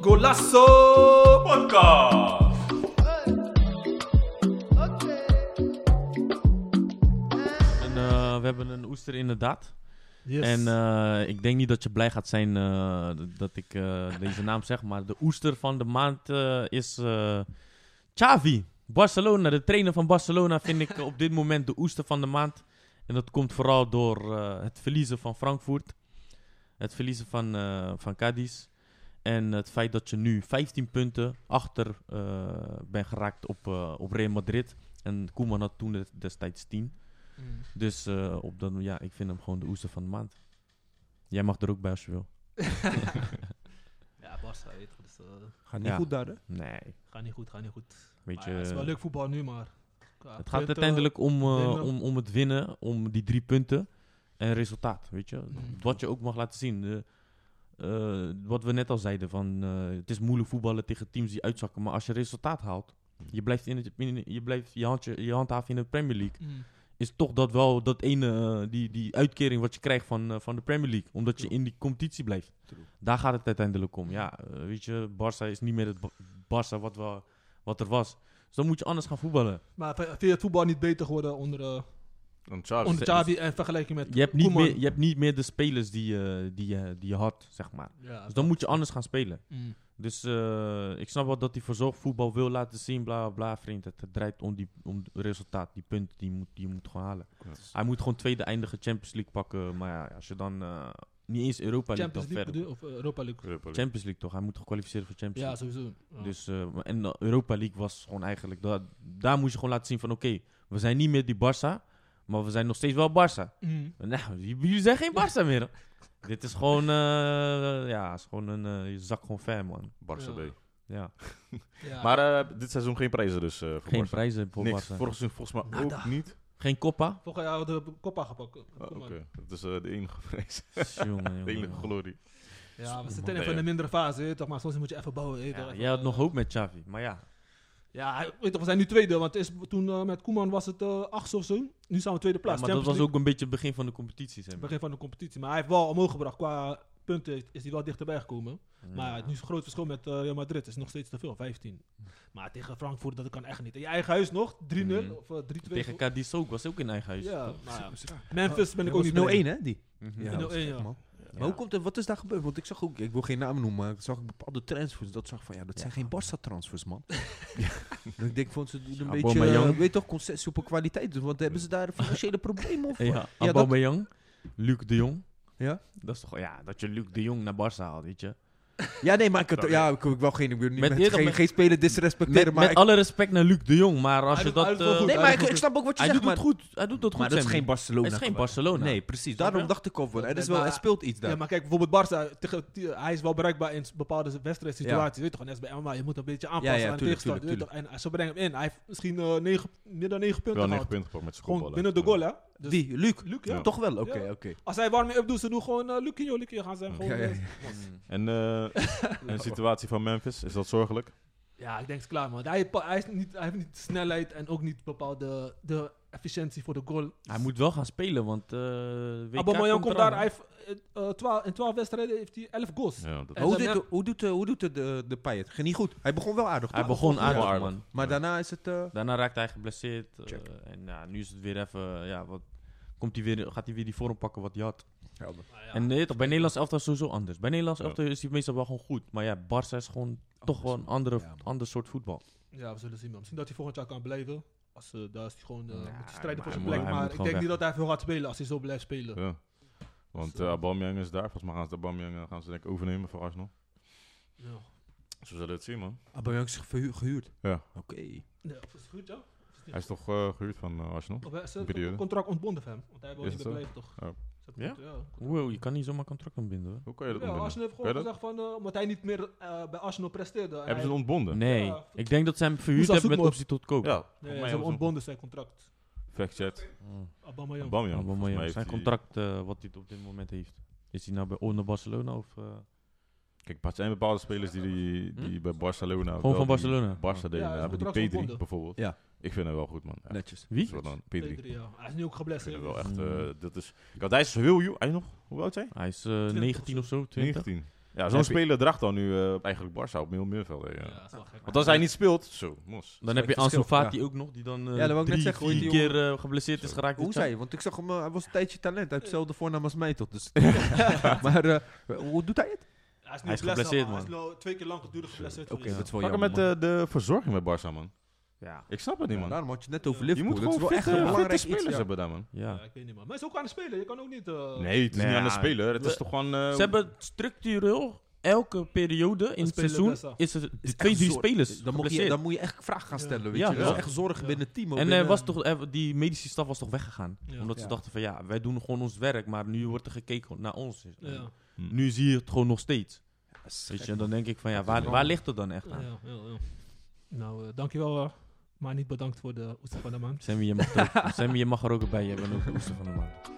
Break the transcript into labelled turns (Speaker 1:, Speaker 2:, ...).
Speaker 1: Golasso Podcast.
Speaker 2: Een, eh, we hebben een oester inderdaad.
Speaker 3: Yes.
Speaker 2: En eh, ik denk niet dat je blij gaat zijn eh, d- dat ik eh, deze naam zeg, maar de oester van de maand eh, is eh Xavi. Barcelona, de trainer van Barcelona vind ik op dit moment de oester van de maand. En dat komt vooral door eh, het verliezen van Frankfurt. Het verliezen van, eh van Cadiz. En het feit dat je nu 15 punten achter eh bent geraakt op, eh, op Real Madrid. En Koeman had toen destijds 10. Dus eh, op dat, ja, ik vind hem gewoon de oester van de maand. Jij mag er ook bij als je wil.
Speaker 4: Ja, Barca weet je, dus eh,
Speaker 5: Gaat niet
Speaker 2: Ja.
Speaker 5: goed daar, hè?
Speaker 2: Nee,
Speaker 4: gaat niet goed, gaat niet goed.
Speaker 2: weet
Speaker 4: Maar
Speaker 2: je.
Speaker 4: ja,
Speaker 3: het is wel leuk voetbal nu, maar...
Speaker 2: het gaat uiteindelijk om, eh,
Speaker 3: winnen.
Speaker 2: om, om het winnen, om die drie punten en resultaat, weet je.
Speaker 3: Mm.
Speaker 2: Wat je ook mag laten zien. eh, eh, wat we net al zeiden, van, eh, het is moeilijk voetballen tegen teams die uitzakken, maar als je resultaat haalt,
Speaker 5: Mm.
Speaker 2: je blijft, in het, in- je, blijft je, handje, je handhaven in de Premier League.
Speaker 3: Mm.
Speaker 2: is toch dat wel dat ene, eh, die, die uitkering wat je krijgt van, eh, van de Premier League. Omdat je in die competitie blijft.
Speaker 5: True.
Speaker 2: Daar gaat het uiteindelijk om. Ja, eh, weet je, Barça is niet meer het Ba- Barça wat, we, wat er was. Dus dan moet je anders gaan voetballen.
Speaker 3: Maar vind vind je het voetbal niet beter geworden onder, eh,
Speaker 5: Want Charles,
Speaker 3: onder Xavi en vergelijking met
Speaker 2: dus- Je hebt niet,
Speaker 3: Koeman?
Speaker 2: meer, je hebt niet meer de spelers die, eh, die, je- die je had, zeg maar.
Speaker 3: Ja,
Speaker 2: Dus dan moet je anders gaan spelen.
Speaker 3: mm.
Speaker 2: Dus eh, ik snap wel dat hij verzorgd voetbal wil laten zien, bla bla, bla vriend. Het draait om, die, om het resultaat, die punten die je moet, die je moet gewoon halen.
Speaker 5: Ja.
Speaker 2: Hij moet gewoon tweede eindige Champions League pakken. Maar ja, als je dan eh, niet eens Europa League
Speaker 3: Champions
Speaker 2: dan
Speaker 3: League
Speaker 2: verder.
Speaker 3: bedoel- of eh, Europa League.
Speaker 5: Champions
Speaker 2: Champions League toch? Hij moet toch kwalificeren voor Champions
Speaker 3: Ja,
Speaker 2: League.
Speaker 3: sowieso. Ja.
Speaker 2: Dus, eh, maar- en eh, Europa League was gewoon eigenlijk... daar- daar moest je gewoon laten zien van... Oké, we zijn niet meer die Barça. Maar we zijn nog steeds wel Barça.
Speaker 3: Mm.
Speaker 2: Nou, j- jullie zijn geen Barça meer. Dit is gewoon... eh, ja, is gewoon een... eh, je zak gewoon fan, man.
Speaker 5: Barca
Speaker 3: Ja.
Speaker 5: B.
Speaker 2: Ja.
Speaker 3: Ja.
Speaker 5: Maar eh, dit seizoen geen prijzen dus eh, voor
Speaker 2: Geen
Speaker 5: Barca.
Speaker 2: prijzen voor
Speaker 5: Niks.
Speaker 2: Barça.
Speaker 5: Vorig seizoen volgens mij ook niet.
Speaker 2: Geen Coppa.
Speaker 3: Vorig jaar hadden we de kop aangepakt. eh,
Speaker 6: Oh,
Speaker 5: Ah, Oké,
Speaker 3: Koeman.
Speaker 5: dat is eh, de enige prijs.
Speaker 2: Jongen, jongen,
Speaker 5: De enige
Speaker 2: jongen.
Speaker 5: glorie.
Speaker 3: Ja, we zitten
Speaker 2: man.
Speaker 3: even in een mindere fase, hè, toch? maar soms moet je even bouwen. hè, toch?
Speaker 2: Ja,
Speaker 3: Even,
Speaker 2: jij had
Speaker 3: eh,
Speaker 2: nog hoop met Xavi. Maar ja,
Speaker 3: Ja, hij- weet toch, we zijn nu tweede, want is, toen eh, met Koeman was het eh achtste of zo. Nu staan we tweede
Speaker 2: ja,
Speaker 3: plaats.
Speaker 2: maar dat
Speaker 3: Champions
Speaker 2: was
Speaker 3: League,
Speaker 2: ook een beetje het begin van de competitie. Zeg
Speaker 3: het
Speaker 2: maar.
Speaker 3: begin van de competitie. Maar hij heeft wel omhoog gebracht. Qua punten is hij wel dichterbij gekomen. Maar
Speaker 2: Ja.
Speaker 3: het nu is een groot verschil met eh, Real Madrid. Het is nog steeds te veel, 15. Maar tegen Frankfurt, dat kan echt niet. In je eigen huis nog, 3-0
Speaker 5: Mm.
Speaker 2: Mhm.
Speaker 3: of eh, 3-2.
Speaker 2: Tegen Cadiz ook. Was ook in eigen huis.
Speaker 3: Ja,
Speaker 2: toch?
Speaker 3: maar Memphis ben ik ook
Speaker 5: was
Speaker 3: niet mee.
Speaker 5: 0-1, hè? Die.
Speaker 2: Mhm.
Speaker 3: Ja. 0-1,
Speaker 5: dat is gek,
Speaker 3: ja.
Speaker 5: man. Maar hoe komt het, wat is daar gebeurd? Want ik zag ook, ik wil geen namen noemen, maar ik zag bepaalde transfers. Dat zag ik van, ja, dat zijn geen Barca-transfers, man. En ik denk van, ze doen een beetje, eh,
Speaker 2: Aubameyang.
Speaker 5: weet toch, concessie op een kwaliteit. doen, Want hebben ze daar financiële problemen of?
Speaker 2: Ja,
Speaker 5: dat-
Speaker 2: Aubameyang, Luc de Jong.
Speaker 5: Ja?
Speaker 2: Dat is toch, ja, dat je Luc de Jong naar Barca haalt, weet je.
Speaker 5: Ja, nee, maar ik, had, ja, ik, ik wil geen, ik wil niet
Speaker 2: Met
Speaker 5: met,
Speaker 2: eerder
Speaker 5: geen,
Speaker 2: met-
Speaker 5: geen speler disrespecteren,
Speaker 2: Met,
Speaker 5: maar...
Speaker 2: met
Speaker 5: ik-
Speaker 2: alle respect naar Luc de Jong, maar als
Speaker 3: Hij
Speaker 2: je
Speaker 3: doet- hij
Speaker 2: dat...
Speaker 3: doet wel
Speaker 2: eh,
Speaker 3: goed.
Speaker 5: nee, maar ik, ik snap ook wat je
Speaker 2: hij
Speaker 5: zegt,
Speaker 2: doet het
Speaker 5: maar...
Speaker 2: goed. Hij doet dat goed,
Speaker 5: Maar dat is
Speaker 2: Sammy.
Speaker 5: geen Barcelona.
Speaker 2: Het is geen
Speaker 5: kwaad.
Speaker 2: Barcelona.
Speaker 5: Nee, precies.
Speaker 2: Snap je?
Speaker 5: Daarom dacht ik al van, er, is wel, er speelt iets daar.
Speaker 3: Ja, maar kijk, bijvoorbeeld Barça, tegen, die- eh, hij is wel bereikbaar in bepaalde wedstrijdsituaties. Weet je toch, net als bij MMA, je moet een beetje aanpassen
Speaker 5: Ja, ja,
Speaker 3: aan de
Speaker 5: tuurlijk,
Speaker 3: tegenstander.
Speaker 5: tuurlijk,
Speaker 3: weet je toch. En ze brengen hem in. Hij heeft misschien eh, negen, meer dan 9 punten gehad.
Speaker 5: Wel 9 punten gepakt met zijn
Speaker 3: Gewoon
Speaker 5: kopballen.
Speaker 3: binnen de goal, hè? Dus
Speaker 5: Die, Luc.
Speaker 3: Luc, ja.
Speaker 5: Toch wel, oké,
Speaker 3: Ja.
Speaker 5: oké.
Speaker 3: Als hij warming up doet, ze doen gewoon eh Lucio, Lucio. Gaan ze hem gewoon...
Speaker 5: Ja, ja, ja.
Speaker 3: eh,
Speaker 6: En, eh, en de situatie van Memphis, is dat zorgelijk?
Speaker 3: Ja, ik denk het is klaar, man. Hij, pa- hij, is niet, hij heeft niet snelheid en ook niet bepaalde de efficiëntie voor de goal.
Speaker 2: Hij moet wel gaan spelen, want... eh WK
Speaker 3: Aubameyang komt
Speaker 2: eraan,
Speaker 3: daar,
Speaker 2: hè.
Speaker 3: hij heeft, eh, eh, 12 in 12 wedstrijden heeft hij 11 goals.
Speaker 6: Ja, dat
Speaker 3: En
Speaker 5: Hoe,
Speaker 3: dan
Speaker 5: dit,
Speaker 3: heb-
Speaker 5: hoe doet, eh, hoe doet de, de, de Payet? Ging niet goed. Hij begon wel aardig.
Speaker 2: Hij
Speaker 5: toch?
Speaker 2: begon aardig,
Speaker 6: aardig.
Speaker 2: man.
Speaker 5: Maar daarna is het... eh,
Speaker 2: Daarna raakt hij geblesseerd. eh,
Speaker 5: Check.
Speaker 2: en ja, nu is het weer even... Ja, wat, komt hij weer, gaat hij weer die vorm pakken wat hij had.
Speaker 3: Ah,
Speaker 2: En nee, toch, bij Nederlands elftal is sowieso anders. Bij Nederlands
Speaker 6: Ja.
Speaker 2: elftal is hij meestal wel gewoon goed. Maar ja, Barça is gewoon toch wel een andere,
Speaker 5: Ja, man.
Speaker 2: ander soort voetbal.
Speaker 3: Ja, we zullen zien, man. Misschien dat hij volgend jaar kan blijven. Als, eh, daar is hij gewoon eh,
Speaker 2: Ja,
Speaker 3: moet hij strijden voor zijn
Speaker 2: maar hij
Speaker 3: plek.
Speaker 2: moet- hij
Speaker 3: Maar
Speaker 2: moet
Speaker 3: ik
Speaker 2: gewoon
Speaker 3: denk niet
Speaker 2: weg.
Speaker 3: dat hij veel gaat spelen als hij zo blijft spelen.
Speaker 6: Ja. Want
Speaker 3: Zo.
Speaker 6: eh Aubameyang is daar. Volgens mij gaan ze de Aubameyang eh, gaan ze denk ik overnemen voor Arsenal.
Speaker 3: Ja.
Speaker 6: Zo zullen we het zien, man.
Speaker 5: Aubameyang is verhu- gehuurd.
Speaker 6: Ja.
Speaker 5: Oké.
Speaker 3: Ja, of is het goed, ja? Of is het
Speaker 6: Hij is
Speaker 3: niet?
Speaker 6: toch eh, gehuurd van eh, Arsenal?
Speaker 3: Of hij is het
Speaker 6: periode.
Speaker 3: contract ontbonden van hem? Want hij wil
Speaker 6: Is
Speaker 3: niet meer
Speaker 6: het Oh.
Speaker 3: blijven, toch?
Speaker 6: Ja.
Speaker 3: Is dat goed? Ja.
Speaker 2: Wow, je kan niet zomaar contract ontbinden, hoor.
Speaker 6: Hoe kan je dat
Speaker 3: Ja,
Speaker 6: ontbinden?
Speaker 3: Arsenal heeft
Speaker 6: Kan je
Speaker 3: gewoon
Speaker 6: dat?
Speaker 3: gezegd van, eh, omdat hij niet meer eh, bij Arsenal presteerde. en
Speaker 6: Hebben ze
Speaker 3: hij-
Speaker 6: het ontbonden?
Speaker 2: Nee,
Speaker 3: Ja.
Speaker 2: ik denk dat ze hem verhuurd
Speaker 3: Moussa
Speaker 2: hebben
Speaker 3: Zoetmond.
Speaker 2: met optie tot koop.
Speaker 6: Ja, volgens
Speaker 3: Nee,
Speaker 6: mij
Speaker 3: ze
Speaker 6: hebben
Speaker 3: hebben
Speaker 6: ze
Speaker 3: ontbonden zijn contract.
Speaker 6: Factchat.
Speaker 3: Aubameyang.
Speaker 6: Aubameyang. volgens mij
Speaker 2: Aubameyang,
Speaker 6: heeft
Speaker 2: zijn
Speaker 6: hij-
Speaker 2: oh, contract eh, wat hij op dit moment heeft. Is hij nou bij onder Barcelona of... eh,
Speaker 6: Kijk, er zijn bepaalde spelers die, die, die bij Barcelona... wel
Speaker 2: van
Speaker 6: die
Speaker 2: Barcelona.
Speaker 6: Barca deden,
Speaker 3: Ja, is
Speaker 6: hebben die
Speaker 3: contract
Speaker 6: Pedri
Speaker 3: verbonden.
Speaker 6: bijvoorbeeld.
Speaker 5: Ja.
Speaker 6: Ik vind hem wel goed, man. Ja.
Speaker 5: Netjes.
Speaker 2: Wie?
Speaker 6: Wat dan? Pedri.
Speaker 3: Pedri, ja. Hij is nu ook
Speaker 6: Ik vind
Speaker 3: geblesseerd. dus-
Speaker 6: hem wel echt...
Speaker 2: Mm.
Speaker 6: eh, dat is... Kijk, hij is heel jong. Hij is nog... Hoe oud is hij?
Speaker 2: Hij is eh, 19 of zo, 20.
Speaker 6: 19. Ja,
Speaker 2: Heb
Speaker 6: zo'n
Speaker 2: je-
Speaker 6: speler draagt dan nu eh, eigenlijk Barça op heel middenveld. hè, Ja.
Speaker 4: Ja, dat is wel gek.
Speaker 6: Want als hij niet speelt, zo, mos.
Speaker 2: Dan heb je
Speaker 5: Verschil,
Speaker 2: Ansu Fati ook nog, die dan eh
Speaker 5: Ja, dat wou ik net
Speaker 2: drie,
Speaker 5: zeggen, hoe
Speaker 2: vier
Speaker 5: heet die
Speaker 2: keer eh, geblesseerd is geraakt.
Speaker 5: Hoe
Speaker 2: dit
Speaker 5: zei
Speaker 2: jaar.
Speaker 5: je? Want ik zag hem, eh, hij was een tijdje talent. Hij heeft hetzelfde voornaam als mij tot. Dus. maar eh, hoe doet hij het?
Speaker 3: Hij is, nu
Speaker 2: Hij is
Speaker 3: geblesseerd,
Speaker 2: geblesseerd,
Speaker 3: Hij
Speaker 2: man.
Speaker 3: is nou twee keer lang gedurig geblesseerd.
Speaker 5: Oké,
Speaker 3: geweest.
Speaker 5: dat is wel
Speaker 6: Vakken
Speaker 5: jammer.
Speaker 6: met eh, de verzorging bij Barça, man.
Speaker 2: Ja.
Speaker 6: Ik snap het niet,
Speaker 5: man.
Speaker 6: man.
Speaker 5: Ja, daarom had je het net
Speaker 6: je
Speaker 5: over Liverpool.
Speaker 6: moet
Speaker 5: dat is
Speaker 6: gewoon
Speaker 5: wel echt
Speaker 6: fitte,
Speaker 5: een
Speaker 6: fitte
Speaker 5: belangrijk
Speaker 6: spelers
Speaker 5: iets. Ja.
Speaker 6: hebben daar, man.
Speaker 2: ja.
Speaker 3: Ja, ik weet niet, man. Maar hij is ook aan het spelen. Je kan ook niet... eh,
Speaker 6: Nee, het is
Speaker 2: Nee,
Speaker 6: niet aan de
Speaker 2: ja,
Speaker 6: speler. Het
Speaker 2: we-
Speaker 6: is toch gewoon...
Speaker 5: Ehm,
Speaker 6: eh,
Speaker 2: Ze hebben structureel elke periode in het
Speaker 3: spelen
Speaker 2: seizoen
Speaker 3: best wel.
Speaker 2: is er
Speaker 5: Is
Speaker 2: twee,
Speaker 5: echt
Speaker 2: drie
Speaker 5: zor-
Speaker 2: spelers
Speaker 5: Dan moet, je,
Speaker 2: geblesseerd.
Speaker 5: dan moet je echt vragen gaan stellen. Weet
Speaker 2: Ja,
Speaker 5: je. Dat is
Speaker 2: ja.
Speaker 5: echt zorgen
Speaker 3: Ja.
Speaker 5: binnen het team. ook
Speaker 2: En eh,
Speaker 5: binnen-
Speaker 2: was toch, eh, die medische staf was toch weggegaan?
Speaker 3: Ja.
Speaker 2: Omdat ze
Speaker 5: Ja.
Speaker 2: dachten van ja, wij doen gewoon ons werk, maar nu wordt er gekeken naar ons.
Speaker 3: Ja,
Speaker 2: Nu zie je het gewoon nog steeds.
Speaker 5: Ja, dat is
Speaker 2: Weet
Speaker 5: gek,
Speaker 2: je, en dan denk ik van ja,
Speaker 5: Dat is
Speaker 2: waar,
Speaker 5: wel-
Speaker 2: waar ligt het dan echt
Speaker 3: ja,
Speaker 2: aan?
Speaker 3: ja, ja. Nou, eh, dankjewel. eh, maar niet bedankt voor de oester van de maand.
Speaker 2: Sammy, je mag er ook, Sammy, je mag er ook bij hebben, ook de oester van de maand.